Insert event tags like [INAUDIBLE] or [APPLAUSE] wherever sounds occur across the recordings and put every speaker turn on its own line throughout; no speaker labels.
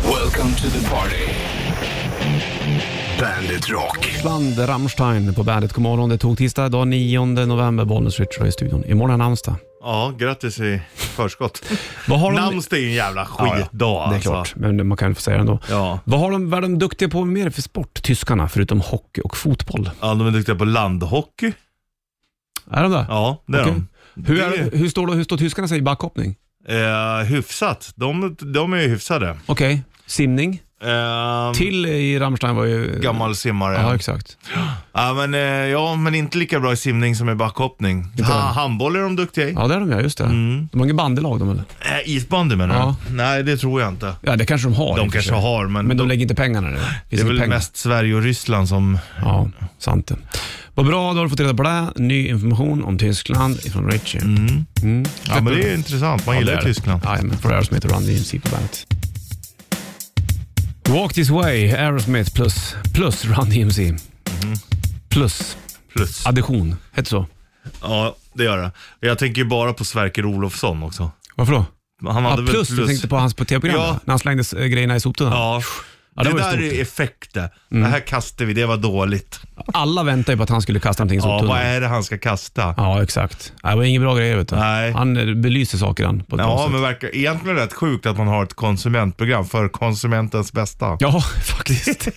Welcome to the party. Bandit Rock.
Bland Rammstein på Bandet. God morgon. Det tog tisdag dag 9 november. Bollnäs Richard i studion. Imorgon är namnsdag.
Ja, grattis i förskott.
Vad [LAUGHS] har de-
Namnsdag är en jävla
Ja, ja.
skitdag
Det är
alltså.
klart, men man kan ju få säga det ändå.
Ja.
Vad, har de, vad är de duktiga på mer för sport, tyskarna, förutom hockey och fotboll?
Ja, de är duktiga på landhockey.
Är de det?
Ja, det är
Okej.
de.
Hur,
det,
är, hur, står, det- hur står tyskarna sig i backhoppning?
Eh, hyfsat. De, de är ju hyfsade.
Okej, simning.
Eh,
Till i Rammstein var ju...
Gammal simmare.
Ja,
Ja,
exakt.
men, eh, ja, men inte lika bra i simning som i backhoppning. Ha, handboll är de duktiga i.
Ja, det är de ja, just det.
Mm.
De har inget bandelag de eller?
Eh, isbandy menar du?
Ja.
Nej, det tror jag inte.
Ja, det kanske de har. i
De
och för
kanske
sig.
har, men,
Men de
de,
lägger inte pengarna där.
det är väl mest Sverige och Ryssland som...
Ja, sant det. Vad bra, då har du fått reda på det. Ny information om Tyskland ifrån Mm. Richie.
Mm. Ja, men det är intressant. Man gillar ju Tyskland.
Jajamän, för Aerosmith och Run DMC på bandet. Walk This Way, Aerosmith plus, plus Run DMC.
Mm.
Plus
Plus.
addition, heter så?
Ja, det gör det. Jag tänker ju bara på Sverker Olofsson också.
Varför då?
Han
Ja,
hade väl
plus, du tänkte på hans på tv-program
Ja.
va? när han slängde eh, grejerna i soptunnan.
Ja.
Ja, det
det
var ju
där
stort.
är effekter. Det här kastar vi, det var dåligt.
Alla väntade ju på att han skulle kasta någonting i
Ja, vad
soptunnan.
är det han ska kasta? Ja,
Ja, exakt. Det var inget bra grejer vet du.
Nej.
Han eh, belyser saker han på ett bra sätt.
men verkar egentligen rätt sjukt att man har ett konsumentprogram för konsumentens bästa.
Ja, [LAUGHS]
[LAUGHS]
faktiskt.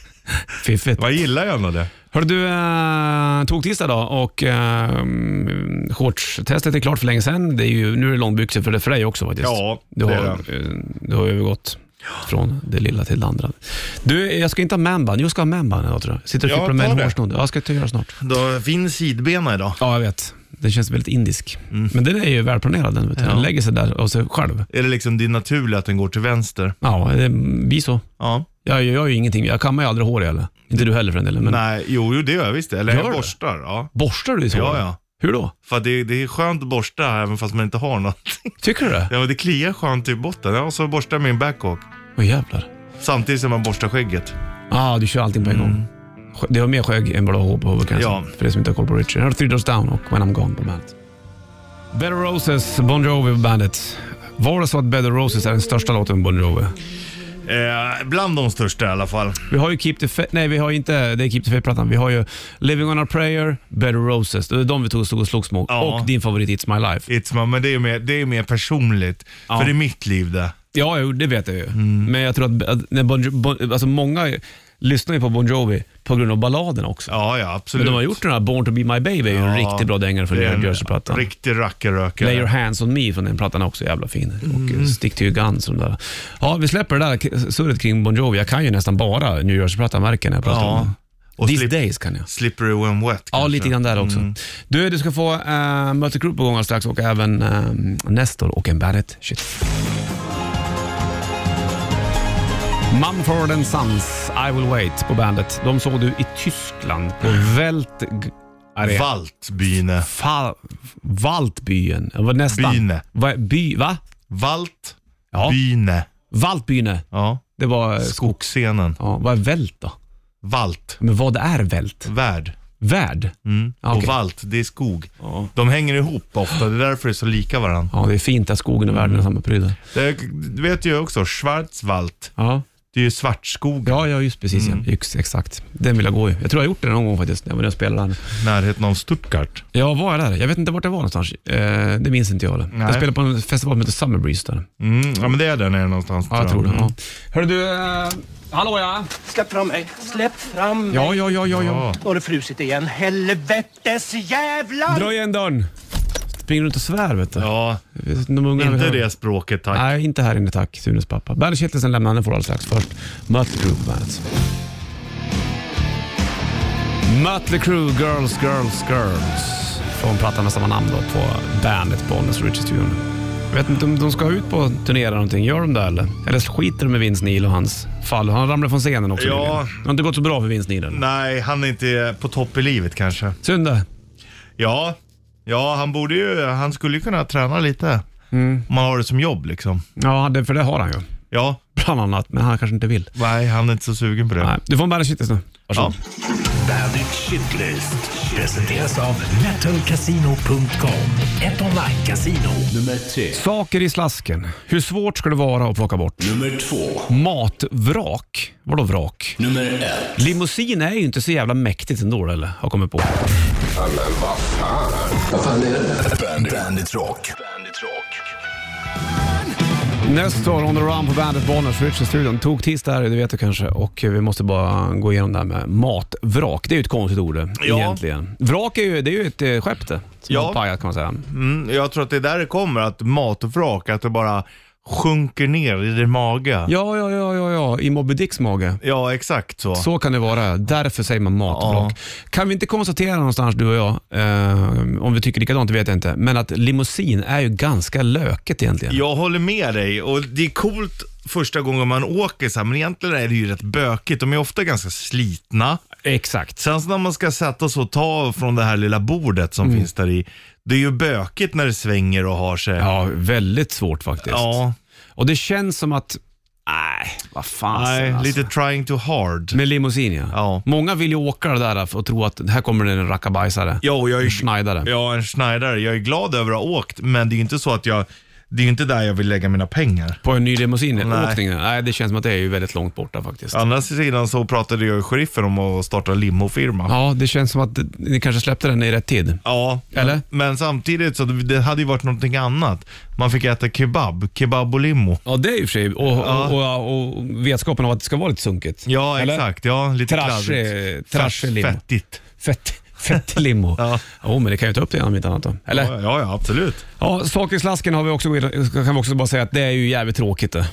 Fiffigt.
Man gillar ju ändå det.
Hörru du, eh, tog tisdag då och eh, mm, shortstestet är klart för länge sedan. Det är ju, nu är det långbyxor för, det för dig också faktiskt.
Ja,
du har,
det är
eh, Du har övergått från det lilla till det andra. Du, jag ska inte ha manband. Jo, Jag ska ha manband idag tror jag. Sitter och
Ja,
fipplar med
ta
en
det.
hårsnodd. Ja, Jag ska ta göra snart.
Då finns sidbena idag.
Ja, jag vet. Den känns väldigt indisk.
Mm.
Men den är ju välplanerad den. Vet du. Den lägger sig där av sig själv.
Är det liksom din naturliga att den går till vänster?
Ja, det blir så.
Ja.
Jag gör ju ingenting. Jag kammar ju aldrig hår heller. Inte du heller för den delen. Men
Nej, jo, jo det gör jag visst. Eller
Gör
jag
du?
borstar. Ja.
borstar du i så?
ja, ja.
Hur då?
För att det, det är skönt att borsta även fast man inte har något.
Tycker du det?
Ja, men det kliar skönt i botten. Ja, och så borstar jag min backhawk.
Åh jävlar.
Samtidigt som man borstar skägget.
Ja, ah, du kör allting på en gång. Det var mer skägg än vad du har hår på huvudet kanske.
Ja.
För det som inte har koll på Richard. Här har du Three Doors Down och When I'm Gone på bandet. Better Roses, Bon Jovi på bandet. Var det så att Better Roses är den största låten med Bon Jovi?
Eh, bland de största i alla fall.
Vi har ju Keep the Faith, nej vi har ju inte, det är Keep the Faith-plattan. Vi har ju Living on a prayer, Better Roses. Det är de vi tog och stod och slogs mot.
Ja.
Och din favorit It's My Life.
It's my, men det är ju mer, det är ju mer personligt.
Ja.
För det är mitt liv det.
Ja, jo, det vet jag ju. Men jag tror att, att när bon, Jo- bon, alltså många lyssnar ju på Bon Jovi på grund av balladen också.
Ja, ja
Men
absolut.
de har gjort den här Born to be my baby, är ju en
Ja,
riktigt bra dängare från
Det är
New
en
Jersey-plattan.
Riktig rackarrökare.
Lay your hands on me från den plattan är också jävla fin. Och
Mm.
eh, Stick to your guns och de där. Ja, vi släpper det där k- surret kring Bon Jovi. Jag kan ju nästan bara New Jersey-plattan märker när jag pratar
Ja.
om den.
Och
These
slip- Mm.
days kan jag.
Slippery when wet
Ja,
kanske.
lite grann där också. Du, du ska få äh, Mötley Crüe på gång alldeles strax och även äh, Nestor och en Barrett. Shit. Mumford and Sons, I will wait på bandet. De såg du i Tyskland på
Mm.
Welt... Arena.
Valtbyne.
Fa- Valtbyen. Det var nästan.
Byne.
Va, by, va?
Valtbyne.
Ja. Valtbyne.
Ja.
Det var... eh,
Skogsscenen.
Ja, vad är vält då?
Valt.
Men vad är vält?
Värd.
Värd?
Mm.
Ja, okej.
Och valt, det är skog. De hänger ihop ofta, det är därför det är så lika varandra.
Ja, det är fint att skogen och
Mm.
världen är samma prydnad.
Det Eh, du vet ju också, Schwarzwald.
Ja.
Det är ju svartskog
ja, ja, just precis.
Mm.
Ja. Just, exakt. Den vill jag gå i. Jag tror jag har gjort det någon gång faktiskt, när jag var nere och spelade där.
i närheten av Stuttgart.
Ja, var jag där? Jag vet inte vart jag var någonstans. Eh, det minns inte jag heller. Jag
Nej.
spelade på en festival som heter Summer Breeze där.
Mm. Ja, men det är där nere någonstans. Mm.
Ja, jag tror det. Ja. Hörru du, eh, hallå ja.
Släpp fram mig. Släpp fram mig.
Ja, ja, ja, ja. ja.
Ja.
Nu har det frusit igen. Helvetes jävlar!
Dra igen dörren. Springer runt och svär vet du.
Ja,
De ungarna vill
inte
höra.
det språket tack.
Nej, inte här inne tack. Sunes pappa. Bandet Kittelsen lämnar han får alldeles strax. Först Mötley Crüe på bandet. Mötley Crüe, Girls, Girls, Girls. Från plattan med samma namn då på bandet Bonus Richie Studion. Jag vet inte om de ska ut på turné eller någonting. Gör de det eller? Eller skiter de med Vince Neil och hans fall? Han ramlade från scenen också
Ja.
nyligen. Det har inte gått så bra för Vince Neil. än.
Nej, han är inte på topp i livet kanske.
Synd det.
Ja, ja han borde ju, han skulle ju kunna träna lite.
Mm.
Om man har det som jobb liksom.
Ja, det, för det har han ju.
Ja,
Bland annat, men han kanske inte vill.
nej han är inte så sugen på det.
Nej, du får en bandet Kittelsen nu.
Ja.
Bandit Shitlist presenteras av metalcasino.com. Ett online-casino. Nummer tre.
Saker i slasken. Hur svårt ska det vara att plocka bort?
Nummer två.
Matvrak. Vadå vrak?
Nummer ett.
Limousin är ju inte så jävla mäktigt ändå, eller? Har kommit på.
Bandit, Bandit Rock. Bandit Rock.
Nestor on the run på bandet Bollnäs, Richard studion Tog tisdag här, det vet du kanske. Och vi måste bara gå igenom det här med matvrak. Det är ju ett konstigt ord det,
Ja.
egentligen. Vrak är ju, det är ju ett eh, skepp det. Som
Ja.
har pajat kan man säga.
Mm, jag tror att det är där det kommer, att matvrak, att det bara sjunker ner i din mage.
Ja, ja, ja, ja, ja. i Moby Dicks mage.
Ja, exakt så.
Så kan det vara. Därför säger man matvrak. Kan vi inte konstatera någonstans, du och jag, eh, om vi tycker likadant, det vet jag inte, men att limousin är ju ganska löket egentligen.
Jag håller med dig och det är coolt första gången man åker så här, men egentligen är det ju rätt bökigt. De är ofta ganska slitna.
Exakt.
Sen så när man ska sätta sig och ta från det här lilla bordet som finns där i, det är ju bökigt när det svänger och har sig.
Ja, väldigt svårt faktiskt.
Ja,
Och det känns som att, nej, vad fan.
nej,
alltså.
lite trying too hard.
Med limousin ja.
Ja.
Många vill ju åka det där och tro att här kommer det en rackabajsare.
Ja, och Mm. jag är
Schneidare.
Ja, en Schneider. Jag är glad över att ha åkt, men det är ju inte så att jag, det är ju inte där jag vill lägga mina pengar.
På en ny limousinåkning.
Nej.
Nej. det känns som att det är ju väldigt långt borta faktiskt.
Å
Ja.
andra sidan så pratade jag och sheriffen om att starta en limofirma.
det känns som att ni kanske släppte den i rätt tid.
Ja,
Eller?
men samtidigt så det hade ju varit någonting annat. Man fick äta kebab, kebab och limo.
Ja, det är ju för sig. Och,
Ja.
och, och, och vetskapen om att det ska vara lite sunkigt.
Ja,
Eller?
exakt. Ja, lite
Trash, eh,
kladdigt.
trash
Fett-
limo.
Fettigt.
Fett, fett limo. ja.
[LAUGHS] Ja.
men det kan ju ta upp det om inte annat då. Eller?
Ja, ja, absolut.
Ja, saker i slasken har vi också, kan vi också bara säga att det är ju jävligt tråkigt det.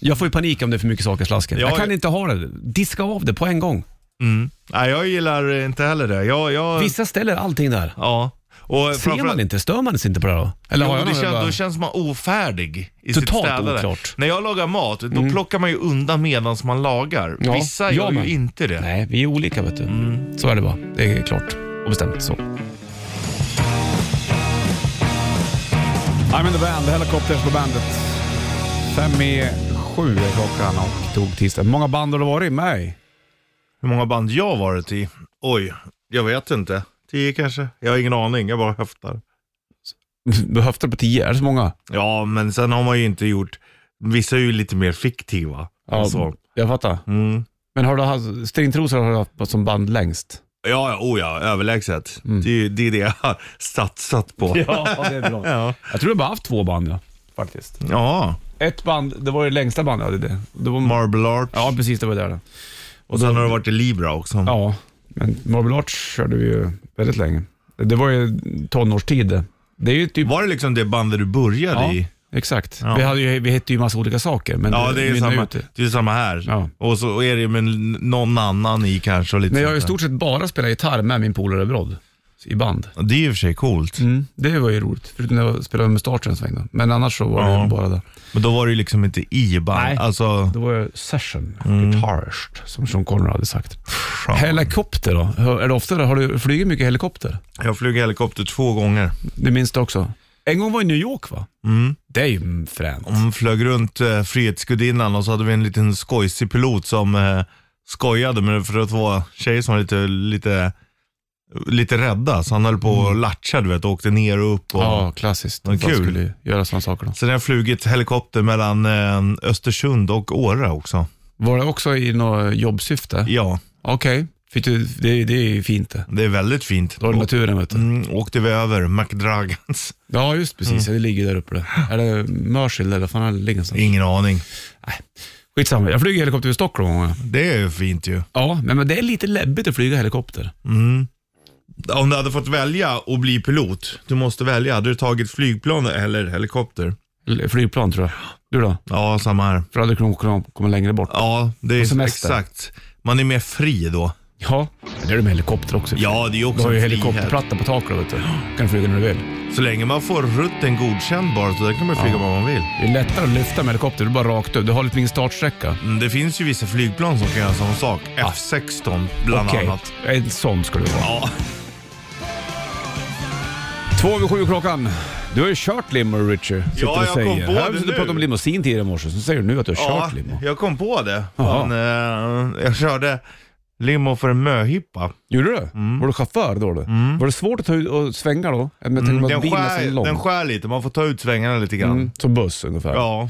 Jag får ju panik om det är för mycket saker i slasken.
Mm. Ja,
jag kan
jag-
inte ha det. Diska av det på en gång.
Mm. Nej, jag gillar inte heller det. Jag, jag,
Vissa ställer allting där.
Ja. Och
Ser man inte? Stör man sig inte på det då? Eller har
Jo,
jag
det
någon-
känns,
bara-
då känns man ofärdig i sitt
Totalt
städande.
oklart. Mm.
När jag lagar mat, då plockar man ju undan medan man lagar.
Ja,
Vissa
jag
gör
med.
ju inte det.
Nej, vi är olika vet du. Mm. Så är det bara. Det är klart och bestämt så. I'm in the band, Helicopters på bandet. Fem i sju är klockan och tog tisdag. många band har det varit med [LAUGHS] i?
Hur många band jag har varit i? Oj, jag vet inte. Tio kanske? Jag har ingen aning, jag bara höftar.
Behövt det på tio? Är det så många?
Ja, men sen har man ju inte gjort... Vissa är ju lite mer fiktiva. och så.
Alltså, jag fattar.
Mm.
Men har du haft, stringtrosor har du haft som band längst?
Ja, ja, oh ja, överlägset. Det, är ju- det är det jag har satsat på.
Mm. Ja, det är bra.
[LAUGHS] Ja.
Jag tror jag bara haft två band ja. Faktiskt.
ja.
Ett band, det var det längsta bandet jag hade. Det, det var,
Marble Arch.
ja, precis det var där.
och sen har du varit i Libra också.
Ja, men Marble Arch körde vi ju väldigt länge. Det var ju tonårstid det. Det är ju typ...
Var det liksom det bandet du började
ja,
i?
exakt.
Ja.
Vi, hade ju, vi hette ju massa olika saker, men
Ja, det är,
mynnar
samma,
ut i-
det är samma här.
Ja.
Och så är det med någon annan i kanske. Och lite
Men jag har i
sånt
stort sett bara spelat gitarr med min polare Brodd i band.
där. Det är i och för sig coolt.
Mm. Det var ju roligt, förutom när jag spelade med starten en sväng då. Men annars så var det
Ja.
ju bara det.
Men då var det ju liksom inte i band.
Nej.
Alltså,
Det var ju session guitarist, som Sean Connery hade sagt.
Mm. fan.
Helikopter då? Hör- Är det ofta, det? har du flugit mycket helikopter?
jag flög helikopter två gånger.
Det minns du också? En gång var i New York va?
Mm.
Det är ju fränt.
Hon flög runt eh, Frihetsgudinnan och så hade vi en liten skojsig pilot som eh, skojade med för att vara tjejer som var lite, lite, lite rädda. Så han höll på och latchade du vet, och åkte ner och upp. Och,
Ja, klassiskt. De
Vad
kul.
kul.
skulle ju göra sådana saker. Då.
Sen har jag flugit helikopter mellan eh, Östersund och Åre också.
Var det också i något jobbsyfte?
Ja,
Okej, Fick du- det, det är ju fint det.
det är väldigt fint.
Då har du naturen vet du.
Mm, åkte vi över McDragans. [LAUGHS]
Ja, just precis. Det ligger där uppe. Det. Är det Mörsil eller vad fan är det ligger någonstans?
Ingen aning.
Skitsamma, jag flyger helikopter i Stockholm många gånger.
Det är ju fint ju.
Ja, men, men det är lite läbbigt att flyga helikopter.
Om du hade fått välja att bli pilot, du måste välja. Hade du tagit flygplan eller helikopter?
L- Flygplan tror jag. Du då?
Ja, samma här.
För då hade du kunnat komma- komma längre bort.
Ja, det är
semester.
exakt. Man är mer fri då.
Ja, men det är det med helikopter också.
Ja, det är
Du
ju också
har ju
en frihet.
helikopterplatta på taket vet du. kan du flyga när du vill.
Så länge man får rutten godkänd bara, så där kan man flyga vad man vill.
Det är lättare att lyfta med helikopter. Du är bara rakt upp. Du har lite ingen startsträcka.
Mm, Det finns ju vissa flygplan som kan göra samma sak. F16 bland
Okej,
annat.
en sån skulle det vara.
Ja,
Två över sju klockan. Du har ju kört limo Richie. sitter
Ja,
och
jag
säger.
kom på
Här,
det
Du
nu.
pratade om limousin tidigare i morse, så säger du nu att du har
ja
kört limo.
jag kom på det.
Jaha.
Men, eh, jag körde limo för en möhippa.
Gjorde du?
Mm.
Var du chaufför då? Du? Var det svårt att ta ut och svänga då? Jag tänker på att
Mm, Den
bilen är så
skär,
lång.
den skär lite, man får ta ut svängarna lite grann.
Mm, som buss ungefär.
Ja.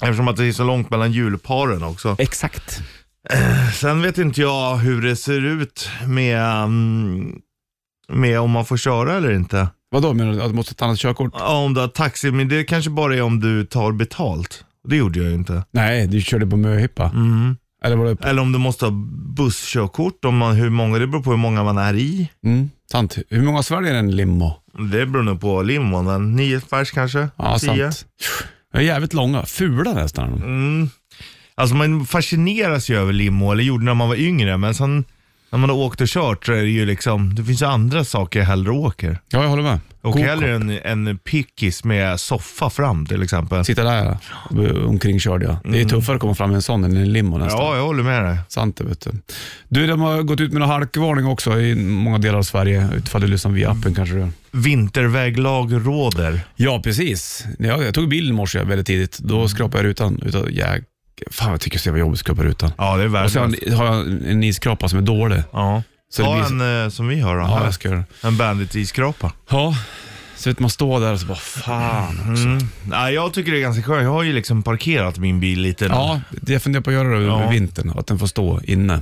Eftersom att det är så långt mellan hjulparen också.
Exakt.
Sen vet inte jag hur det ser ut med, mm, med om man får köra eller inte.
Vadå menar du? Att du måste ta ett annat körkort?
Ja, Om du har taxi, men det kanske bara är om du tar betalt. Det gjorde jag ju inte.
Nej, du körde på möhippa.
Mm.
Eller var det...
Eller om du måste ha busskörkort, om man, hur många, det beror på hur många man är i.
Mm, sant. Hur många sväljer en limo?
Det beror nog på limon, men nio pers kanske?
Ja,
Tio. Mm.
sant. De är jävligt långa. Fula nästan.
Alltså man fascineras ju över limo, eller gjorde när man var yngre, men sen när man har åkt och kört så är det ju liksom, det finns ju andra saker jag hellre åker.
Ja, jag håller med.
Och
Go-kart.
hellre en, en pickis med soffa fram till exempel.
Sitta där ja. omkringkörd ja. Det är tuffare att komma fram med en sån än en limo nästan.
Mm. Ja, jag håller med dig.
Sant det vet du. Du, de har gått ut med en halkvarning också i många delar av Sverige. Utifall du lyssnar via
Mm.
appen kanske du
Vinterväglag råder.
Ja, precis. Jag, jag tog bilen i morse väldigt tidigt.
Mm.
Då skrapade jag rutan. Utan, jag, fan, jag tycker det var jobbigt att skrapa rutan.
Ja, det är
Och
värdelöst.
sen har jag en isskrapa som är dålig.
Ja.
Så
Ta
det blir-
en eh, som vi har då.
Ja,
här.
jag ska göra det.
En bandit-iskrapa.
Ja, så vet man står där och så bara fan
Mm.
också.
Nej, jag tycker det är ganska skönt. Jag har ju liksom parkerat min bil lite nu.
Ja, det jag funderar på att göra det över
Ja.
vintern. Att den får stå inne.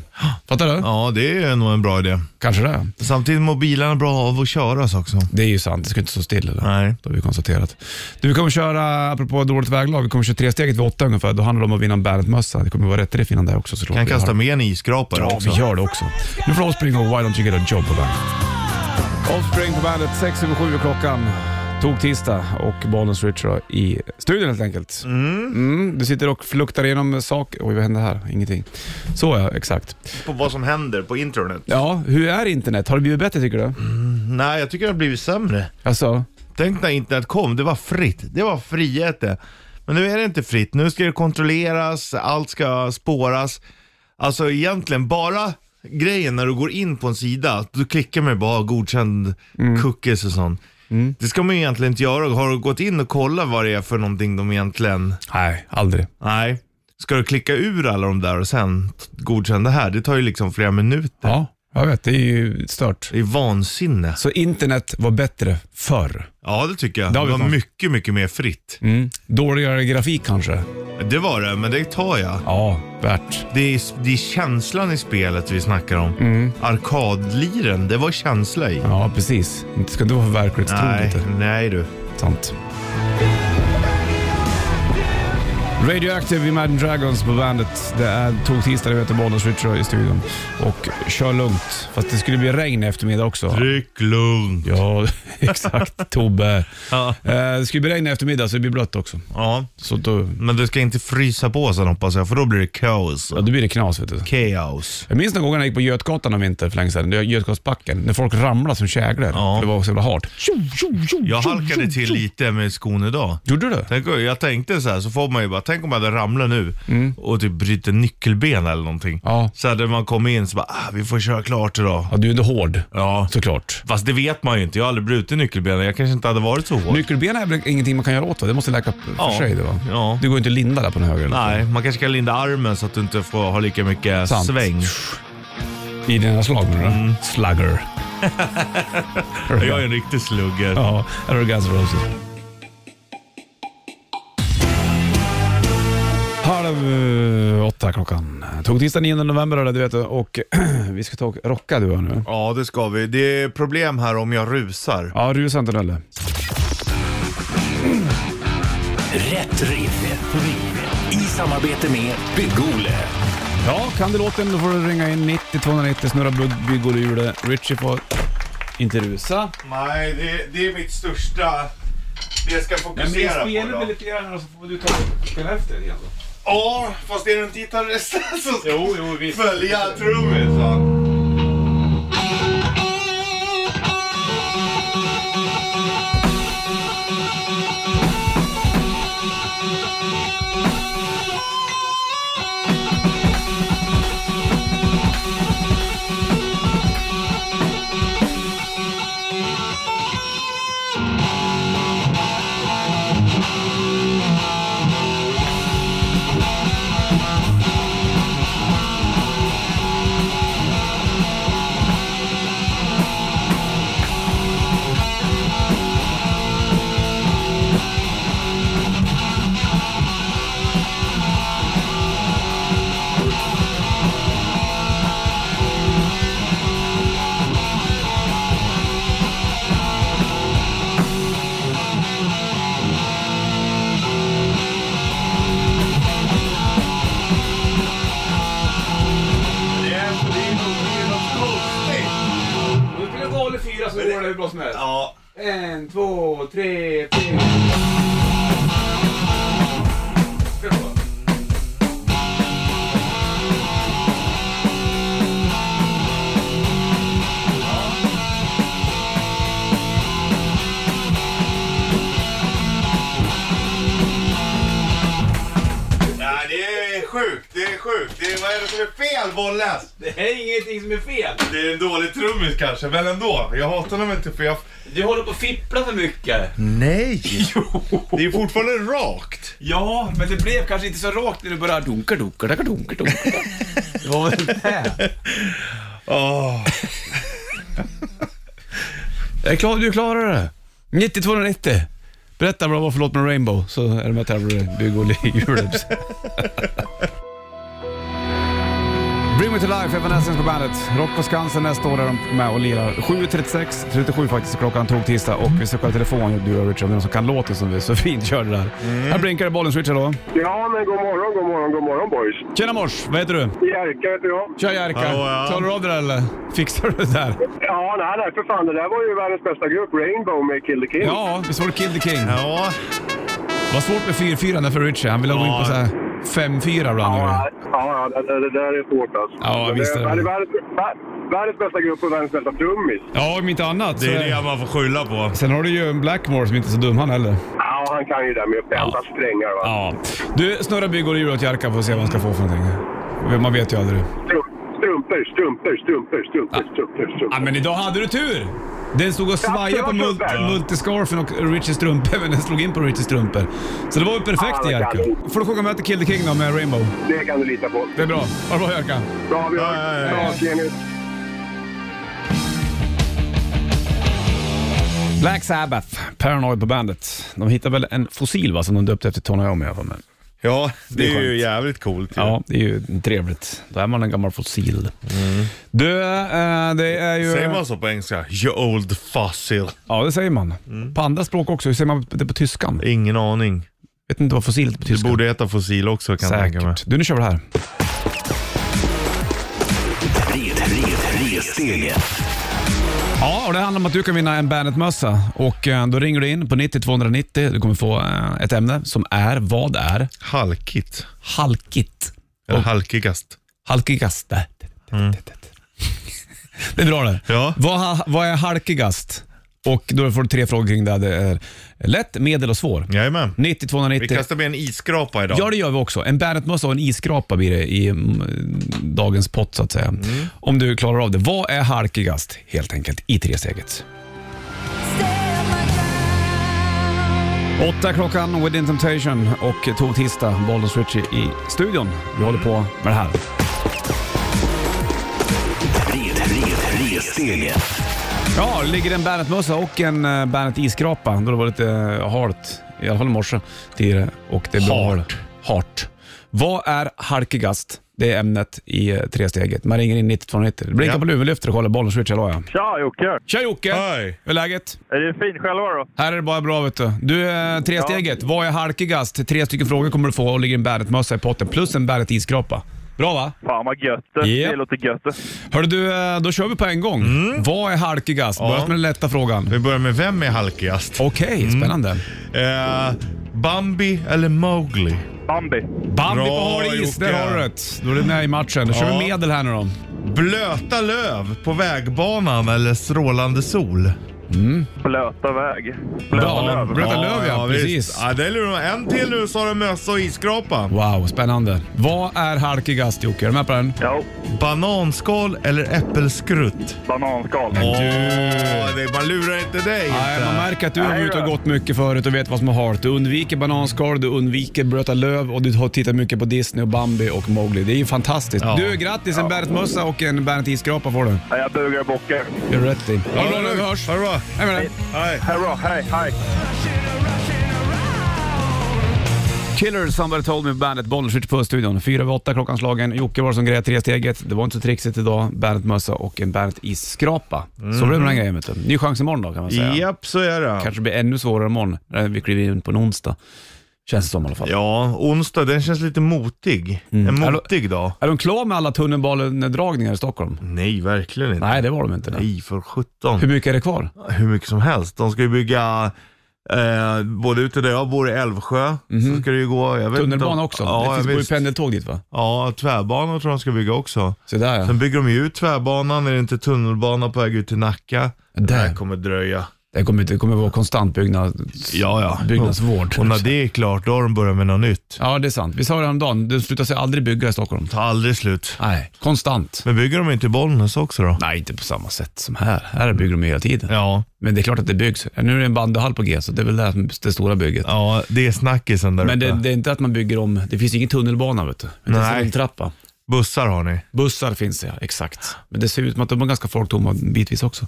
Fattar du?
Ja, det är nog en bra idé.
Kanske det.
Samtidigt mår bilarna bra av att köras också.
Det är ju sant, det ska inte stå still. Eller?
Nej.
Det har vi konstaterat. Du, vi kommer köra, apropå dåligt väglag, vi kommer köra tresteget vid åtta ungefär. Då handlar det om att vinna en Bandet-mössa. Det kommer vara rätt riff innan det också såklart.
Kan
Vi har-
kasta med en isskrapa
Ja,
också.
vi gör det också. Nu får Offspring och Why Don't You Get A Job på bandet. Offspring på bandet, sex över sju är klockan. Tog tisdag och Bollens Richard i studion helt enkelt. Mm, du sitter och fluktar igenom saker. Oj, vad hände här? Ingenting. Så ja, exakt.
På vad som händer på internet.
Ja, hur är internet? Har det blivit bättre tycker du?
Mm. Nej, jag tycker det har blivit sämre.
Alltså,
Tänk när internet kom, det var fritt. Det var frihet det. Men nu är det inte fritt. Nu ska det kontrolleras, allt ska spåras. Alltså egentligen bara grejen när du går in på en sida, att du klickar med bara godkänd
Mm.
cookies och sånt. Det ska man ju egentligen inte göra. Har du gått in och kollat vad det är för någonting de egentligen...
nej, aldrig.
Nej. Ska du klicka ur alla de där och sen t- godkänna det här? Det tar ju liksom flera minuter.
Ja, jag vet. Det är ju stört.
Det är vansinne.
Så internet var bättre förr.
Ja, det tycker jag.
Det
Det
har vi Mm.
var
fan.
mycket, mycket mer fritt.
Dåligare grafik kanske?
Det var det, men det tar jag.
Ja, värt.
Det är, det är känslan i spelet vi snackar om.
Mm.
Arkadliren, det var känsla i.
Ja, precis. Inte ska du vara
Nej,
verklighetstroget.
nej du.
Sant. Radioactive Imagine Dragons på bandet. Det är tog tisdag, det vet du, Bollnäs Ritcher i studion. Och kör lugnt. Fast det skulle bli regn i eftermiddag också.
Tryck lugnt.
Ja, [LAUGHS] exakt. Tobbe.
Ja.
Eh, Det skulle bli regn i eftermiddag så det blir blött också.
ja,
Så då,
men du ska inte frysa på sen hoppas jag, för då blir det kaos.
ja, då blir det knas vet du.
Kaos.
Jag minns någon gång när jag gick på Götgatan en vinter för länge sedan, Götgatsbacken, när folk ramlade som käglor.
Ja.
Det var så jävla hårt.
Jag halkade till lite med skon idag.
Gjorde du det?
Tänk, jag tänkte så här, så får man ju bara, tänk om jag hade ramlat nu och typ bryter nyckelben eller någonting.
Mm. Ja.
Så hade man kommit in så bara, ah, vi får köra klart idag.
Ja, du är inte hård,
Ja.
såklart.
Fast det vet man ju inte, jag har aldrig brutit nyckelbenet. Jag kanske inte hade varit så hård.
Nyckelben är väl ingenting man kan göra åt va? Det måste läka för
Ja.
sig det va?
Ja.
Det går ju inte att linda där på den höger. eller
Nej, man kanske kan linda armen så att du inte får ha lika mycket
Sant.
sväng. Mm.
något. I dina slag menar du? Slugger.
[LAUGHS] Jag är en riktig slugger.
Ja, här har du Guns N' Roses. Halv eh, åtta klockan. Tog tisdag 9 november hörde du vet du, och [CLEARS THROAT] vi ska ta och rocka du och jag nu.
Ja, det ska vi. Det är problem här om jag rusar.
Ja, rusa inte Nelle.
Rätt riff. I samarbete med Bygg-Ole.
Ja, kan du låten då får du ringa in 90 290 snurra bugg, bygg och hjulet. Richie får inte rusa.
Nej, det, det är mitt största... Det jag ska fokusera på då.
lite grann och så får du ta spela efter lite grann
Ja, fast är du inte gitarristen [LAUGHS] så ska
Jo, jo, visst.
följa trummisen.
Thank
så går det hur bra som helst.
Ja.
En, två, tre, fyra.
Nej, det är sjukt. Det är sjukt. Det är, vad är det som är fel, Bollnäs?
Det är ingenting som är fel.
Det är en dålig trummis kanske, men ändå. Jag hatar honom inte för jag...
Du håller på att fippla för mycket.
[LAUGHS] Nej! Det är fortfarande rakt.
Ja, men det blev kanske inte så rakt när du började dunka, dunka, dunka, dunka, dunka. Det var väl det.
Åh.
Jag Ah. är klar, du klarar det. 9290. Berätta vad det var för låt med Rainbow, så är det med och tävlar i bygg och hjulet.
Bring me to life, Evanescence på bandet. Rock på Skansen nästa år är de med och lirar. 7.36, 37 faktiskt, klockan tog tisdag och vi ska kolla telefon, du och Richard, om det är någon som kan låten som vi så [LAUGHS] fint gör det där.
Mm.
Här blinkar det bollens Richard då.
Ja, men god morgon, god morgon, god morgon boys.
Tjena mors, vad heter du?
Jerka heter jag.
Tja Jerka,
Hallå, ja.
klarar du av det där eller? Fixar du det där?
Ja, nej, nej, för fan. Det där var ju världens bästa grupp, Rainbow med Kill the King.
Ja, visst var det Kill the King?
Ja.
Vad svårt med 4-4 där för Richie. Han ville gå in på
Ja.
så här 5-4 ibland.
Ja,
Ja.
ja, det, det, det där är svårt alltså.
Ja,
Men
visst är
det
det.
är världens, vär- världens bästa grupp och världens bästa trummis.
ja, om inte annat.
Det
så-
är det man får skylla på.
Sen har du ju en Blackmore som inte är så dum han heller.
Ja, han kan ju det där med att tända strängar va.
Ja. Du, snurra bygg och hjul åt Jerka för att se vad han ska få för någonting. Man vet ju aldrig.
Strum- Strumpor, strumpor, strumpor, strumpor, strumpor, strumpor.
Ja, men idag hade du tur! Den stod och svajade på mult
Tack, det var tuppen.
multiscarfen och Richies strumpor, [LAUGHS] men den slog in på Richies strumpor. Så det var ju perfekt
Ja, det
Jerka.
kan du.
Får du sjunga med till Kill the King då med Rainbow.
Det kan du lita på.
Det är bra. Ha det bra Jerka.
Bra, vi
Ja, ja, ja.
hörs. Bra, Kenny.
Black Sabbath, Paranoid på bandet. De hittade väl en fossil va, som de döpte efter Tony Iommi i alla fall. men-
Ja, det
är
är ju
skönt.
jävligt coolt. ju.
Ja, det är ju trevligt. Då är man en gammal fossil. Du, eh, det är ju...
Mm. Säger man så på engelska? You old fossil.
Ja, det säger man.
Mm.
På andra språk också. Hur säger man det på tyskan?
Ingen aning.
Vet inte vad fossilt på
Det
tyskan.
borde heta fossil också kan jag tänka mig.
Säkert. Du, nu kör vi det här.
Red, red, ressteget.
Ja, och det handlar om att du kan vinna en Bandet-mössa. Och eh, då ringer du in på 90 290. Du kommer få eh, ett ämne som är, vad är?
Halkigt.
Halkigt.
Eller halkigast.
Halkigast. Det är bra det.
Ja.
Vad, ha- vad är halkigast? Och då får du tre frågor kring det. Det är lätt, medel och svår.
Jajamän.
90 290.
Vi kastar med en isskrapa idag.
Ja, det gör vi också. En Bandet-mössa och en isskrapa blir det i mm, dagens pott, så att säga. Om du klarar av det. Vad är halkigast, helt enkelt, i tresteget? Åtta klockan, Within Temptation och tog tisdag, Bollnäs Ritchie i studion. Vi håller på med det här.
Red, red, ressteget.
Ja, det ligger en Bandet-mössa och en eh, Bandet-isskrapa. Då det var lite eh, halt, i alla fall i morse, tidigare. Och det är bra.
Hart.
Hart. Vad är halkigast? Det är ämnet i eh, tresteget. Man ringer in 9290. Det blinkar
Ja.
på luvenlyfter och kollar bollen switch, hallå ja.
Tja Jocke!
Tja Jocke!
Hej.
Hur är läget?
Är det fint själva då?
Här är det bara bra vet du. Du, eh, tresteget. Vad är halkigast? Tre stycken frågor kommer du få och ligger en Bandet-mössa i potten plus en Bandet-isskrapa. Bra va?
Fan vad gött det.
Ja.
Det låter gött det.
Hörru du, eh, då kör vi på en gång.
Mm.
Vad är halkigast? Börja med den lätta frågan.
Vi börjar med vem är halkigast?
Okej,
Mm.
spännande.
Eh, Bambi eller Mowgli?
Bambi.
Bambi på
Bra,
har is, där
Jocke.
har du det. Då är det med i matchen. Då kör
Ja.
vi medel här nu då.
Blöta löv på vägbanan eller strålande sol?
Blöta väg.
Bra.
Blöta löv.
Blöta löv, ja,
visst.
precis.
Ja, det är lurigt. En till nu så har du mössa och isskrapa.
Wow, spännande. Vad är halkigast Jocke? Är du med på den?
Ja,
Bananskal eller äppelskrutt?
bananskal.
Åh, det- man lurar inte dig.
Nej,
inte.
man märker att du har
Nej,
varit ute och
då.
gått mycket förut och vet vad som är halt. Du undviker bananskal, du undviker Bröta löv och du har tittat mycket på Disney och Bambi och Mowgli. Det är ju fantastiskt.
Ja.
Du, grattis! En Bernt-mössa och en Bernt-isskrapa får du.
Ja, jag bugar och bockar.
Gör du rätt i. Ha
Ja,
det bra nu, vi hörs!
Ha det bra.
Hej med dig.
Hej.
Hej då, hej, hej.
Killer Somebody Told Me Bandet, Bollnäs på studion. Fyra över åtta klockan slagen. Jocke var det som grejade tresteget. Det var inte så trixigt idag. Bandet-mössa och en Bandet-isskrapa. Så blev det med den grejen vet du. Ny chans imorgon då kan man säga.
Japp, så är det.
Kanske blir ännu svårare imorgon när vi kliver in på en onsdag. Känns det som i alla fall.
Ja, onsdag, den känns lite motig. En motig dag.
Är de klara med alla tunnelbanedragningar i Stockholm?
Nej, verkligen inte.
Nej, det var de inte. Nej.
Mm. Nej, för sjutton.
Hur mycket är det kvar?
hur mycket som helst. De ska ju bygga eh, både ute där jag bor i Älvsjö, så ska det ju gå. Jag vet inte
Tunnelbana
om,
också?
Ja,
det
Mhm. det
finns
visst.
ju pendeltåg dit va?
ja, tvärbanor tror jag de ska bygga också.
Så där ja.
Sen bygger de ju ut tvärbanan, är det inte tunnelbana på väg ut till Nacka? Det här
Där.
kommer dröja.
Det kommer, det kommer vara konstant byggnad,
Ja, ja.
byggnadsvård.
Och när det är klart, då har de börjat med något nytt.
Ja, det är sant. Vi sa det häromdagen, det slutar sig aldrig bygga i Stockholm.
Tar aldrig slut.
Nej, konstant.
Men bygger de inte i Bollnäs också då?
Nej, inte på samma sätt som här. Här bygger de ju hela tiden.
Ja,
Men det är klart att det byggs. Nu är det en bandyhall på G, så det är väl det, som- det stora bygget.
ja, det är snackisen där
Men det,
uppe.
det är inte att man bygger om, det finns ingen tunnelbana vet du. Men det
Nej.
är en trappa.
Bussar har ni. [LAUGHS]
Bussar finns det, ja, exakt. Men det ser ut som att de är ganska folktomma bitvis också.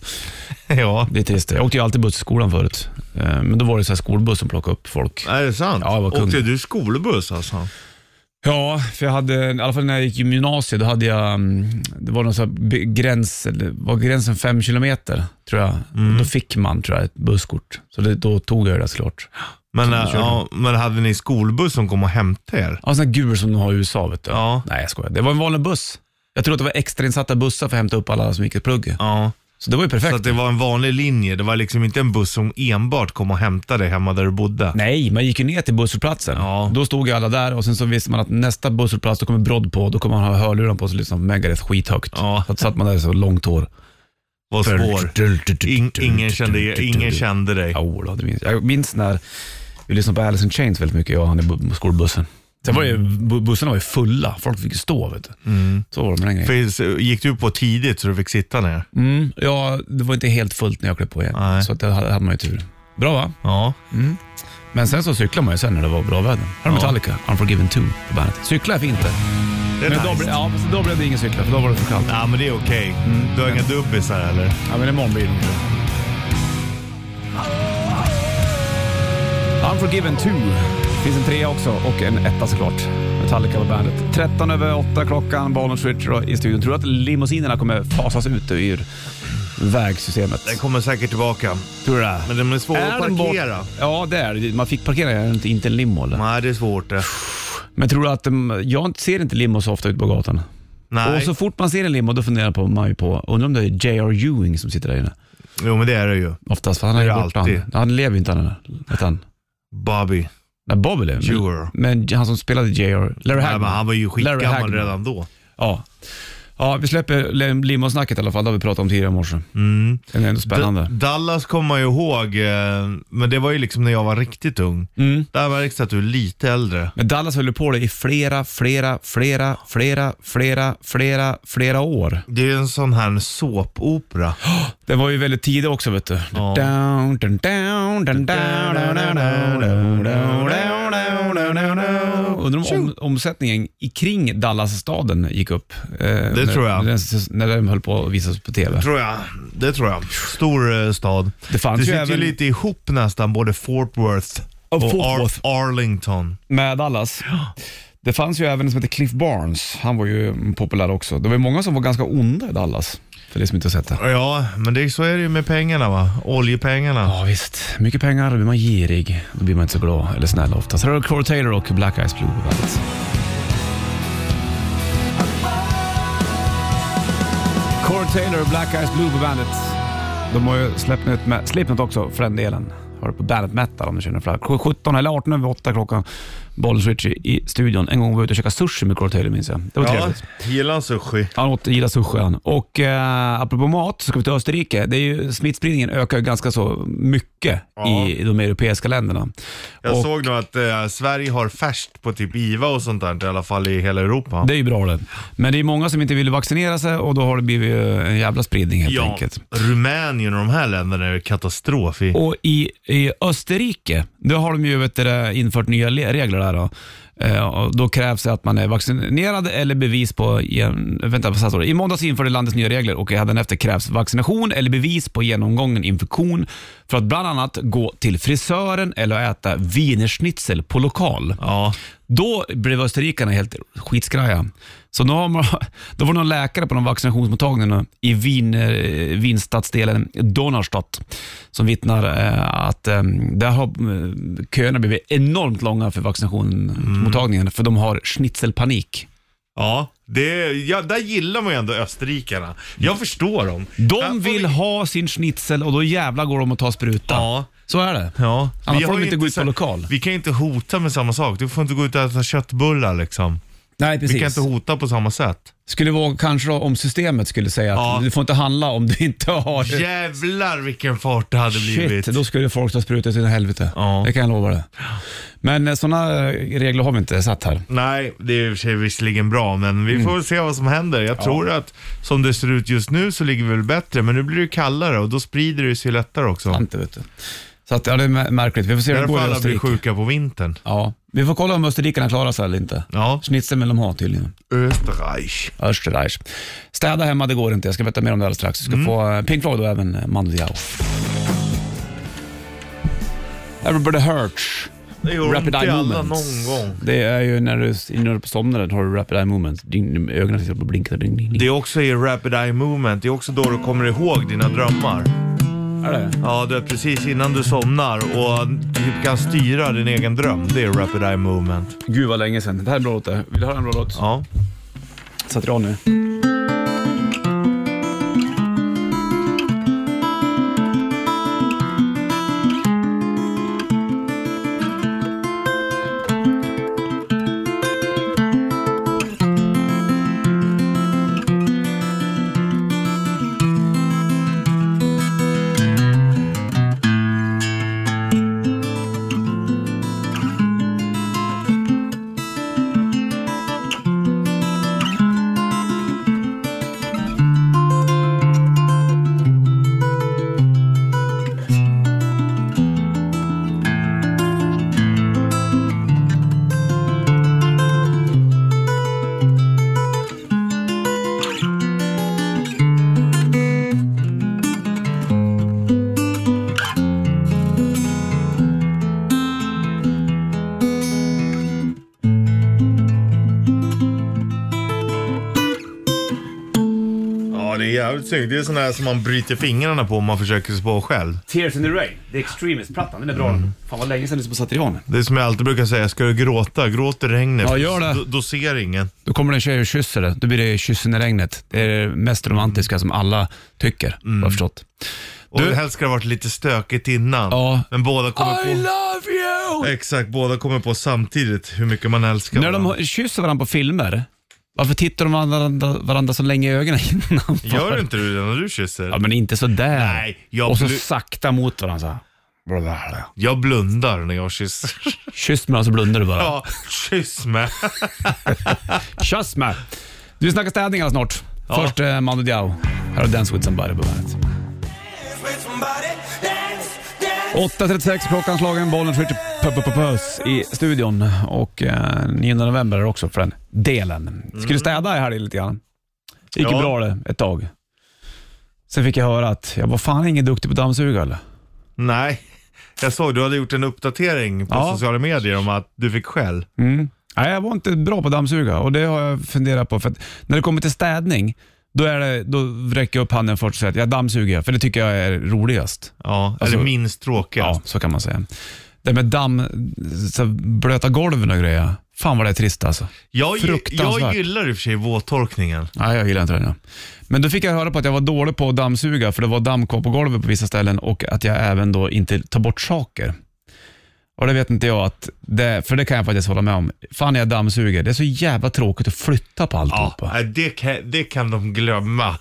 ja.
Det är trist. Jag åkte ju alltid buss i skolan förut. Eh, Men då var det så här skolbuss som plockade upp folk.
Är det sant?
Ja, det var kung.
Åkte du skolbuss alltså?
Ja, för jag hade, i alla fall när jag gick i gymnasiet, då hade jag, mm, det var någon så här be- gräns, eller var gränsen fem kilometer tror jag.
Mm.
Då fick man tror jag ett busskort. Så det, då tog jag det såklart.
Men,
du
äh,
körde.
ja, men hade ni skolbuss som kom och hämtade er?
Ja, sån här gul som de har i USA vet du.
Ja.
Nej, jag skojar. Det var en vanlig buss. Jag tror att det var extrainsatta bussar för att hämta upp alla som gick i plugget.
Ja.
Så det var ju perfekt.
Så att det var en vanlig linje. Det var liksom inte en buss som enbart kom och hämtade dig hemma där du bodde.
Nej, man gick ju ner till busshållplatsen.
Ja.
Då stod ju alla där och sen så visste man att nästa busshållplats, då kommer Brodd på. Då kommer man ha hörlurar på sig och lyssna på Megadeth skithögt.
Ja.
Så att satt man där så långt hår.
Var svår. In, ingen, kände, ingen kände dig.
Jo, då, det minns. jag. Jag minns när vi lyssnade på Alice in Chains väldigt mycket, jag och han i bu- skolbussen. Sen var det ju, bu- bussarna var ju fulla, folk fick ju stå vet du. Så var det med den grejen.
För, gick du på tidigt så du fick sitta ner?
Mm, ja, det var inte helt fullt när jag klev på igen,
Nej.
så att det hade, hade man ju tur. Bra va?
Ja.
Men sen så cyklade man ju sen när det var bra väder. Här har Metallica, Unforgiven 2 på bandet. Cykla är fint det.
Det är
Men då,
nice.
ble- ja, men då blev det ingen cykla, för då var det för kallt.
Ja, men det är okej. Du har inga dubbisar eller?
Ja, men imorgon blir det nog Unforgiven 2. Finns en trea också och en etta såklart. Metallica på bandet. 13 över 8 klockan, Bollen Switcher i studion. Tror du att limousinerna kommer fasas ut ur vägsystemet?
Den kommer säkert tillbaka.
Tror du det?
Men den är svår att
den bort-
parkera.
Ja, det är det. Man fick parkera den, inte, inte en limo eller?
Nej, det är svårt eh. det.
Men tror du att... de- Jag ser inte limo så ofta ute på gatan.
Nej.
Och så fort man ser en limo, då funderar på- man ju på, undrar om det är J.R. Ewing som sitter där inne.
Jo, men det är det ju.
Oftast, för han är
Det
ju
är
borta.
alltid.
Han, han lever ju inte han. Vet han.
Bobby.
Nej, Bobby lever. men-
Jr.
Men han som spelade J.R. Larry
Nej,
Hagman.
men han var ju
Larry
skitgammal
Hagman.
redan då.
Ja. ja, vi släpper lim- limosnacket i alla fall. Det har vi pratat om tidigare i morse.
Mm.
Det är ändå
D-
spännande.
Dallas kommer man ju ihåg, eh, men det var ju liksom när jag var riktigt ung. Där märks det att du är lite äldre.
Men Dallas höll ju på det i flera, flera, flera, flera, flera, flera, flera år.
Det är ju en sån här såpopera.
Det var ju väldigt tidig också vet du.
Ja.
Down, dun, down, dun, down, down, down, down, down, down, down, down, down. Undrar om om omsättningen i- kring Dallas-staden gick upp. eh, när,
tror jag.
När den, när den höll på att visas på TV.
Tror jag. Det tror jag. Stor eh, stad.
Det fanns
det
ju
sitter ju
även-
lite ihop nästan, både Fort Worth och,
Och Fort Worth.
Ar- Arlington.
Med Dallas. Det fanns ju även en som hette Cliff Barnes. Han var ju mm, populär också. Det var ju många som var ganska onda i Dallas. För det som inte har sett det.
Ja, men det, så är det ju med pengarna va. Oljepengarna.
Ja visst, mycket pengar, då blir man girig. Då blir man inte så glad eller snäll oftast. Här har du Corey Taylor och Black Eyes Blue på bandet. Corey Taylor och Black Eyes Blue på bandet. De har ju släppt nytt med Slipknot också för den delen. Har du på bandet Metal om du känner för det. 17 eller 18 över 8 klockan. Bollen Switch i studion. En gång var jag ute och käkade sushi med Corey Taylor minns jag. Det var
Ja,
trevligt.
gillar han sushi?
Han åt, gillar sushi han. Och eh, apropå mat så ska vi till Österrike. Det är ju, smittspridningen ökar ju ganska så mycket
Ja.
i de europeiska länderna.
Jag
och
såg nog att eh, Sverige har färskt på typ IVA och sånt där, i alla fall i hela Europa.
Det är ju bra det. Men det är många som inte vill vaccinera sig och då har det blivit eh, en jävla spridning helt
ja,
enkelt.
Rumänien och de här länderna är ju katastrof i.
Och i, i Österrike, då har de ju vet du, det, infört nya le- regler där. Då. Eh, och Då krävs det att man är vaccinerad eller bevis på... Gen... Vänta, vad står det? I måndags införde landets nya regler och även efter krävs vaccination eller bevis på genomgången infektion för att bland annat gå till frisören eller äta wienerschnitzel på lokal.
Ja.
Då blev österrikarna helt skitskraja. Så då, har man, [LAUGHS] då var det någon läkare på någon vaccinationsmottagning i Wien, eh, Wienstadsdelen Donnerstadt som vittnar eh, att eh, där har eh, köerna blivit enormt långa för vaccinationsmottagningen
Mm.
för de har schnitzelpanik.
Ja, det, ja, där gillar man ju ändå österrikarna. Jag förstår dem. Här får
De vill
vi-
ha sin schnitzel och då jävlar går de och tar spruta.
Ja.
Så är det.
Ja.
Annars
Vi
får
har
de
ju
inte gå ut
så-
på lokal.
Vi kan ju inte hota med samma sak. Du får inte gå ut och äta köttbullar liksom.
Nej,
Vi kan inte hota på
[LAUGHS]
samma sätt.
Skulle vara kanske då om systemet skulle säga att
Ja.
du får inte handla om du inte har...
Jävlar vilken fart det hade blivit.
Shit, då skulle folk ta sprutor till helvete.
Ja.
Det kan jag lova dig. Men sådana regler har vi inte satt här.
Nej, det är i och för sig visserligen bra, men
Mm.
vi får väl se vad som händer. Jag tror att som det ser ut just nu så ligger vi väl bättre, men nu blir det kallare och då sprider det sig lättare också.
Inte, vet du. Så att, ja, det är mär- märkligt. Vi får se hur det
Därför
går i
alla blir
Österrike.
sjuka på vintern.
Ja. Vi får kolla om österrikarna klarar sig eller inte.
Ja.
Schnitzel vill de ha tydligen.
Österreich.
Österreich. Städa hemma, det går inte. Jag ska berätta mer om det alldeles strax. Du
Mm.
ska få eh, Pink Floyd och även eh, Mando Diao. Everybody Hurts.
Det gör
Rapid
ont i
eye
alla
movements.
någon gång.
Det är ju när du, när du somnar har du rapid eye movement. Din, ögonen sitter och blinkar. Ding, ding, ding.
Det är också i Rapid Eye Movement, det är också då du kommer ihåg dina drömmar.
Är det?
Ja, det är precis innan du somnar och typ kan styra din egen dröm. Det är Rapid Eye Movement.
Gud vad länge sedan. Det här är en bra låt det. Vill du höra en bra låt?
Ja.
Sätter jag nu.
Ja, det är jävligt snyggt. Det är sådana här som man bryter fingrarna på om man försöker spå själv.
Tears in the Rain, The Extremist-plattan. Den är bra den. Fan vad länge sedan du satte igång den.
Det är som jag alltid brukar säga, ska du gråta, gråt i regnet.
Ja, gör det.
Då, då ser ingen.
Då kommer det en tjej och kysser dig. Då blir det kyssen i regnet. Det är det mest romantiska som alla tycker, mm. har jag förstått.
Och
Du-
helst ska det ha varit lite stökigt innan.
Ja.
Men båda kommer på...
I love you!
Exakt, båda kommer på samtidigt hur mycket man älskar
När
varandra.
de kysser varandra på filmer, varför tittar de varandra, varandra så länge i ögonen innan?
Gör inte du det när du kysser?
Ja, men inte sådär.
Nej, jag
och så
blir-
sakta mot varandra så här.
Jag blundar när jag
[LAUGHS]
kysser.
Kyss med varandra så blundar du bara.
ja, kyss med.
Kyss med! Du, vi snackar städningar snart. Först eh, Mando Diao. Här har Dance with somebody på bandet. 8.36 klockan slagen, bollen skjuter p- p- p- puss i studion och eh, 9 november är det också för den delen. Skulle städa i helgen lite grann. Det gick ju
Ja.
bra det ett tag. Sen fick jag höra att jag var fan ingen duktig på att dammsuga eller?
Nej, jag såg du hade gjort en uppdatering på
Ja.
sociala medier om att du fick skäll.
Nej, jag var inte bra på att dammsuga och det har jag funderat på. För att när det kommer till städning, då, är det, då räcker jag upp handen först och säger att jag dammsuger, för det tycker jag är roligast.
Ja,
Alltså-
eller minst tråkigast.
Ja, så kan man säga. Det med damm, så blöta golven och grejer. Fan vad det är trist alltså.
Jag, gi-
Fruktansvärt.
jag gillar i och för sig våttorkningen.
Nej, jag gillar inte det. Men då fick jag höra på att jag var dålig på att dammsuga, för det var damm kvar på golvet på vissa ställen och att jag även då inte tar bort saker. Och det vet inte jag, att det, för det kan jag faktiskt hålla med om. Fan jag dammsuger, det är så jävla tråkigt att flytta på
Ja,
alltihopa.
nej, det kan, det kan de glömma.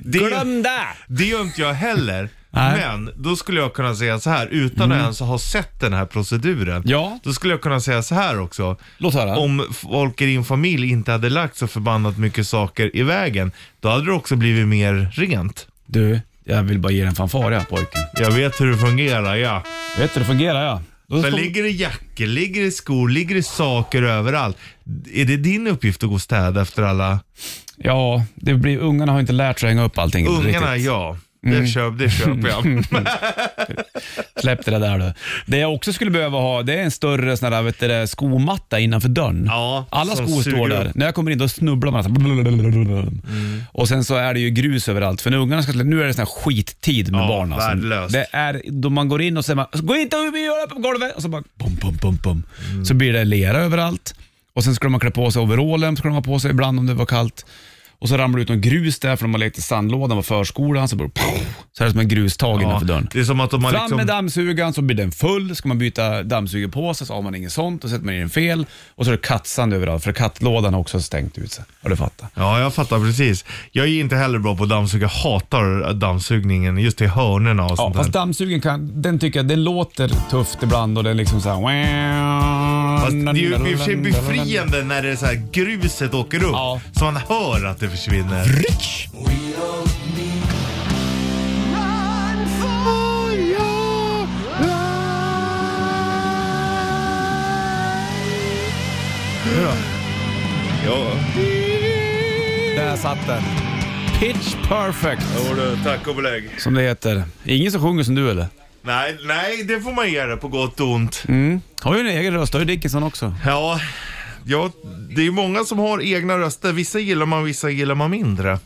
Det,
det!
det gör inte jag heller.
[LAUGHS] Nej. Mm.
Men då skulle jag kunna säga så här, utan att ens ha sett den här proceduren.
Ja.
Då skulle jag kunna säga så här också.
Låt höra.
Om folk i din familj inte hade lagt så förbannat mycket saker i vägen, då hade det också blivit mer rent.
Du, jag vill bara ge dig en fanfar ja, pojken.
Jag vet hur det fungerar, ja.
Vet du, det fungerar ja. Då
Sen
ska-
ligger det jackor, ligger det skor, ligger det saker överallt. Är det din uppgift att gå och städa efter alla
Ja, det blir, ungarna har inte lärt sig att hänga upp allting
ungarna?
riktigt. Mm.
Ja, det köp, det
[LAUGHS]
köper jag.
Släpp det där du. Det jag också skulle behöva ha, det är en större sån där, vet du, det, skomatta innanför dörren.
Ja,
Alla
som
skor
suger
står där.
upp. Mm.
När jag kommer in då snubblar man. Så här. Och sen så är det ju grus överallt. För när ungarna ska, nu är det sån här skittid med
Ja,
barn. Alltså.
värdelöst.
Det är då man går in och säger man, gå inte upp och gör upp på golvet. Och så bara pum, pum, pum, pum.
Mm.
Så blir det lera överallt. Och sen skulle man klä på sig overallen, skulle de ha på sig ibland om det var kallt. Och så ramlar det ut någon grus där för de har lekt i sandlådan på förskolan. Så, bara, pow, så är det som en grustag
Ja,
innanför dörren.
det är som att de har
Fram med
liksom...
dammsugaren så blir den full. Ska man byta dammsugarpåse så har man inget sånt. Då sätter man i den fel. Och så är det kattsand överallt för kattlådan har också stängt ut sig. Har du fattat?
Ja, jag fattar precis. Jag är inte heller bra på att dammsuga. Jag hatar dammsugningen just till hörnerna och
Ja,
sånt
fast
där.
dammsugaren kan, den tycker jag, den låter tufft ibland och den liksom såhär...
Fast det är ju i och för sig befriande när det är så här gruset åker upp.
Ja.
Så man hör att det försvinner. Ja.
Där satt den. Pitch perfect,
Jo du, tack och belägg.
som det heter. Ingen som sjunger som du eller?
Nej, nej, det får man göra på gott och ont.
Har ju en egen röst, har ju Dickinson också.
Ja, ja, det är många som har egna röster. Vissa gillar man, vissa gillar man mindre.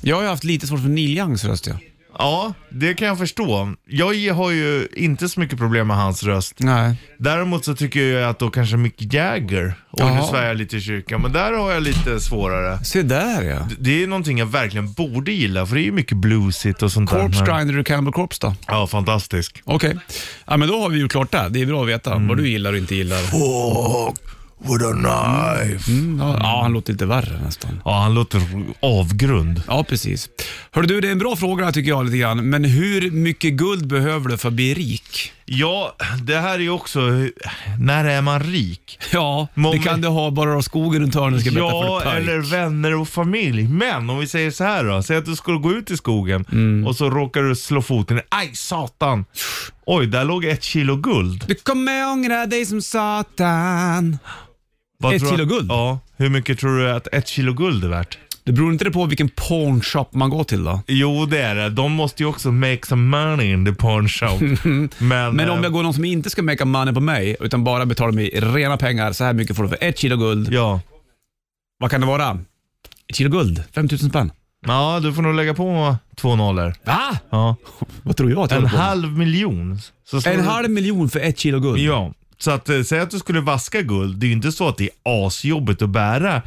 Jag har ju haft lite svårt för Neil Youngs röst ja.
Ja, det kan jag förstå. Jag har ju inte så mycket problem med hans röst.
Nej.
Däremot så tycker jag att då kanske Mick Jagger, och nu
Jaha.
svär jag lite i kyrkan, men där har jag lite svårare.
Se där ja.
Det är någonting jag verkligen borde gilla, för det är ju mycket bluesigt och sånt där.
Corpse
Men-
Grinder och Cannibal Corpse då?
Ja, fantastisk.
Okej. Ja, men då har vi ju klart det. Det är bra att veta
Mm.
vad du gillar och inte gillar. Mm,
Fuck with a knife.
Ja, ja, han låter lite värre nästan.
Ja, han låter avgrund.
Ja, precis. Hör du, det är en bra fråga tycker jag lite grann. Men hur mycket guld behöver du för att bli rik?
Ja, det här är ju också, när är man rik?
Ja,
Många-
det kan du ha bara av skogen runt hörnet ska jag berätta
Ja,
för dig.
eller vänner och familj. Men om vi säger så här då, säg att du skulle gå ut i skogen
Mm.
och så råkar du slå foten i, aj satan! Oj, där låg ett kilo guld.
Du kommer ångra dig som satan.
Vad
Ett
tror du-
kilo guld?
Ja, hur mycket tror du att ett kilo guld är värt?
Det beror inte det på vilken pornshop man går till då?
Jo, det är det. De måste ju också make some money in the
[LAUGHS]
pawn shop. Men,
Men om
eh,
jag går någon som inte ska make money på mig, utan bara betalar mig i rena pengar, så här mycket får du för ett kilo guld.
Ja.
Vad kan det vara? Ett kilo guld? 5000 spänn?
ja, du får nog lägga på två nollor.
Va?
Ja.
Vad tror jag att jag
En
håller på med?
halv miljon. Så slår
En
du-
halv miljon för ett kilo guld?
Ja, så att eh, säg att du skulle vaska guld. Det är ju inte så att det är asjobbigt att bära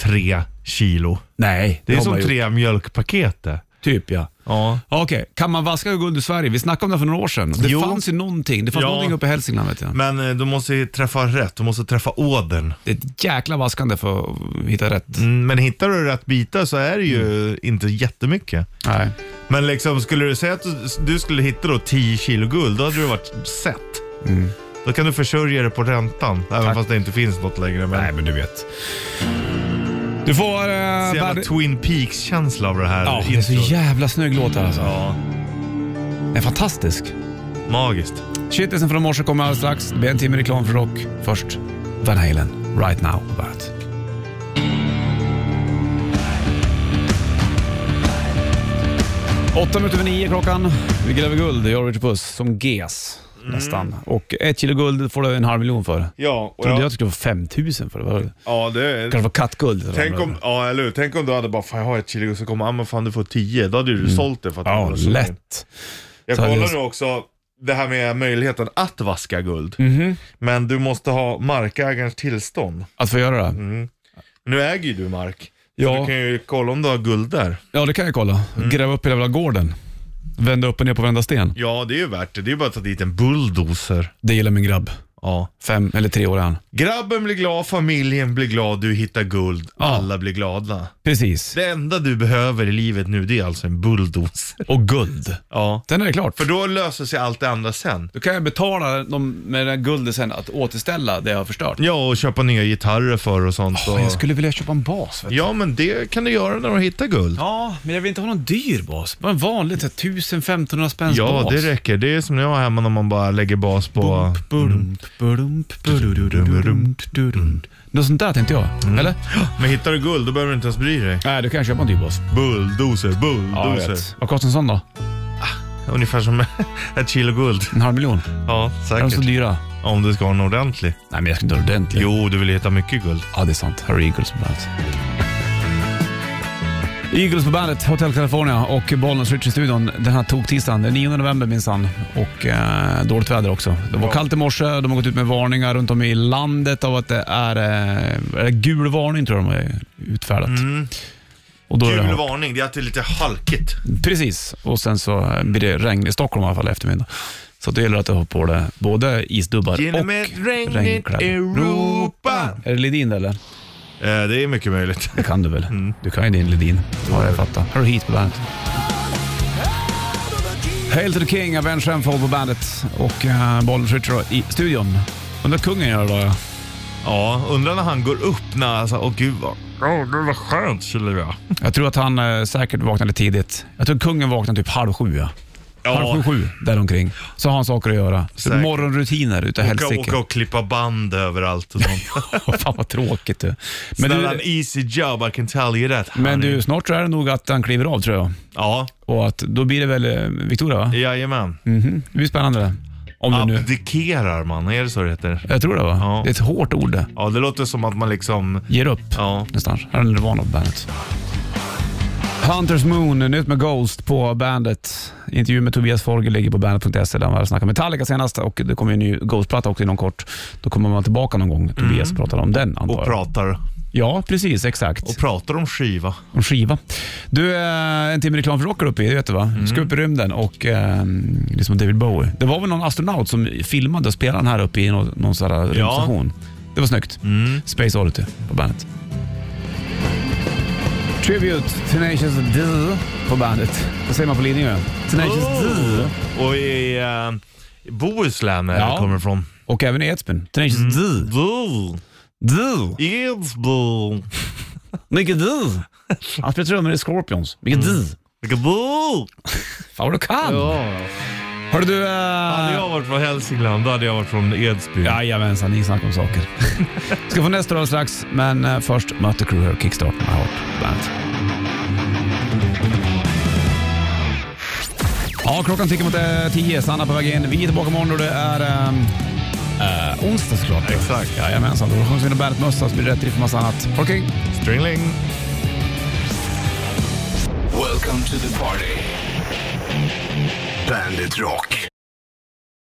tre kilo.
Nej,
Det är
har
som
man ju-
tre mjölkpaket det.
Typ ja.
Ja.
Okej, kan man vaska guld i Sverige? Vi snackade om det för några år sedan. Det
Jo.
fanns ju någonting. Det fanns
Ja.
någonting uppe i Hälsingland vet jag.
Men eh, du måste ju träffa rätt. Du måste träffa ådern.
Det är ett jäkla vaskande för att hitta rätt.
Mm, Men hittar du rätt bitar så är det ju
Mm.
inte jättemycket.
Nej.
Men liksom, skulle du säga att du, du skulle hitta då 10 kilo guld, då hade du varit sett.
Mm.
Då kan du försörja dig på räntan, även fast det inte finns något längre. Men...
Nej, men du vet. Du får...
Så
Eh,
jävla
bad-
Twin Peaks-känsla av det här
ja, det är så
introt.
jävla snygg låt här alltså.
Ja,
Den är fantastisk.
magiskt.
Shitlisten från morse kommer alldeles strax. Det blir en timme reklam för rock. Först Van Halen, Right Now på Bandet. Åtta minuter över nio klockan. Vi gräver guld, jag och Richard Puss, som GES
Mm.
nästan. Och ett kilo guld får du en halv miljon för.
Ja, och
Trodde jag att det skulle vara 5000 för det. Var, kanske
ja det
det var kattguld.
Tänk om, ja, eller hur? Tänk om du hade bara, fan jag har ett kilo och så kommer, ah, men fan du får tio. Då hade du sålt det för att det
Mm. Ja,
var så mycket.
lätt.
Jag
Så hade
kollar
det-
nu också det här med möjligheten att vaska guld.
Mhm.
Men du måste ha markägarens tillstånd.
Att få göra det?
Mm. Nu äger ju du mark. Så du
Ja,
kan ju kolla om du har guld där.
ja, det kan jag kolla.
Mm.
Gräva upp hela jävla gården. Vända upp och ner på vända sten.
Ja, det är ju värt det. Det är ju bara att ta dit en bulldozer.
Det gillar min grabb.
Ja.
Fem eller tre år är han.
Grabben blir glad, familjen blir glad, du hittar guld, alla blir glada.
Precis.
Det enda du behöver i livet nu det är alltså en bulldozer.
Och guld.
Ja.
Sen är det klart.
För då löser sig allt det andra sen.
Då kan jag betala dem med det där guldet sen att återställa det jag har förstört.
Ja, och köpa nya gitarrer för och sånt.
Åh,
och...
jag skulle vilja köpa en bas. Vet du.
Ja, men det kan du göra när du hittar guld.
Ja, men jag vill inte ha någon dyr bas. Bara en vanlig så här, 1000-1500 spänns
Ja,
bas.
det räcker. Det är som när jag var hemma när man bara lägger bas på...
Bump, burump, burump, burururump, durumt. Något sånt där tänkte jag. Eller?
Men hittar du guld, då behöver du inte ens bry dig.
Mm. Nej, du kan jag köpa en dyr bas.
Bulldozer,
Ja,
bulldozer.
jag vet. Vad kostar en sån då?
Ungefär som [LAUGHS] ett kilo guld.
En halv miljon?
Ja,
Är de så
säkert.
dyra?
Om du ska ha en ordentlig.
Nej, men jag ska inte ha ordentlig.
Jo, du vill hitta mycket guld.
Ja, det är sant. Här är Eagles på bandet. Eagles på bandet, Hotel California och Bollnäs Rich i studion den här toktisdagen, den 9 november minsann. Och eh, dåligt väder också. Det var kallt i morse, de har gått ut med varningar runt om i landet av att det är, eh, är det gul varning tror jag de har utfärdat. Och då är det
Gul
halt.
varning, det är att det är lite halkigt.
Precis, och sen så eh, blir det regn i Stockholm i alla fall i eftermiddag. Så det gäller att du har på dig både isdubbar
Genom
och
ett regnigt
regnkläder.
Europa.
Är det Ledin eller?
Eh, det är mycket möjligt. [LAUGHS]
Det kan du väl?
Mm.
Du kan ju din Ledin. Ja, jag fattar. Har du hit på bandet? Hail to the King, Avenge Sevenfold på bandet och uh, Bollnäs Ritcher i studion. Undrar kungen gör då? ja.
Ja, undrar när han går upp när han åh gud vad... Åh, det var skönt skulle det vara.
Jag tror att han eh, säkert vaknade tidigt. Jag tror kungen vaknade typ halv sju. Ja. Halv sju, sju däromkring. Så har han saker att göra.
Säkert.
Morgonrutiner utav
Åka,
helsike.
åka och klippa band överallt
[LAUGHS]
och sånt.
Fan vad tråkigt du. Men,
Snälla, an
du,
easy job, I can tell you that.
men
honey.
du, snart så är det nog att han kliver av tror jag.
Ja,
Och att då blir det väl eh, Victoria va?
jajamän.
Det blir spännande det. Om det nu...
Abdikerar man, är det så det heter?
Jag tror det va?
Ja.
Det är ett hårt ord det.
Ja, det låter som att man liksom...
Ger upp.
Ja.
Nästan. Här är Nirvana på bandet. Hunters Moon, nytt med Ghost på bandet. Intervju med Tobias Forge ligger på bandet.se E, där han snackade Metallica senast och det kommer ju en ny Ghost-platta också inom kort. Då kommer man tillbaka någon gång. Tobias pratar om den antar
Mm. Och
jag.
pratar.
Ja, precis. Exakt.
Och pratar om skiva.
om skiva. Du, eh, en timme reklam för rock uppe i, det vet du va? Ska upp i rymden och eh, liksom David Bowie. Det var väl någon astronaut som filmade och spelade den här uppe i någon, någon sån här rymdstation. Det var snyggt. Space Oddity på bandet. Tribute, Tenacious D på bandet. Vad säger man på Lidingö? Tenacious D.
Och i eh, Bohuslän är
Ja.
det kommer ifrån.
Och även i Edsbyn. Tenacious
Mm.
D.
Bo.
D.
Edsbo.
Mycket D. Han spelar trummor i Scorpions. Mycket D.
Vilken bo.
Fan vad du kan! Hörru du... eh,
Hade jag varit från Hälsingland, då hade jag varit från Edsbyn.
Jajamensan, inget snack om saker. [LAUGHS] Ska få nästa roll strax, men eh, först Mötley Crüe här och Kickstart My Heart Bandet. Ja, klockan tickar mot eh, tio. Sanna på väg in. Vi är tillbaka imorgon och det är ehm, eh, onsdag såklart.
Exakt.
Jajamensan, då sjunger vi in Bandet-mössa så blir det rätt drift för massa annat. Ha det kul.
Stringling.
Welcome to the party. Bandit Rock.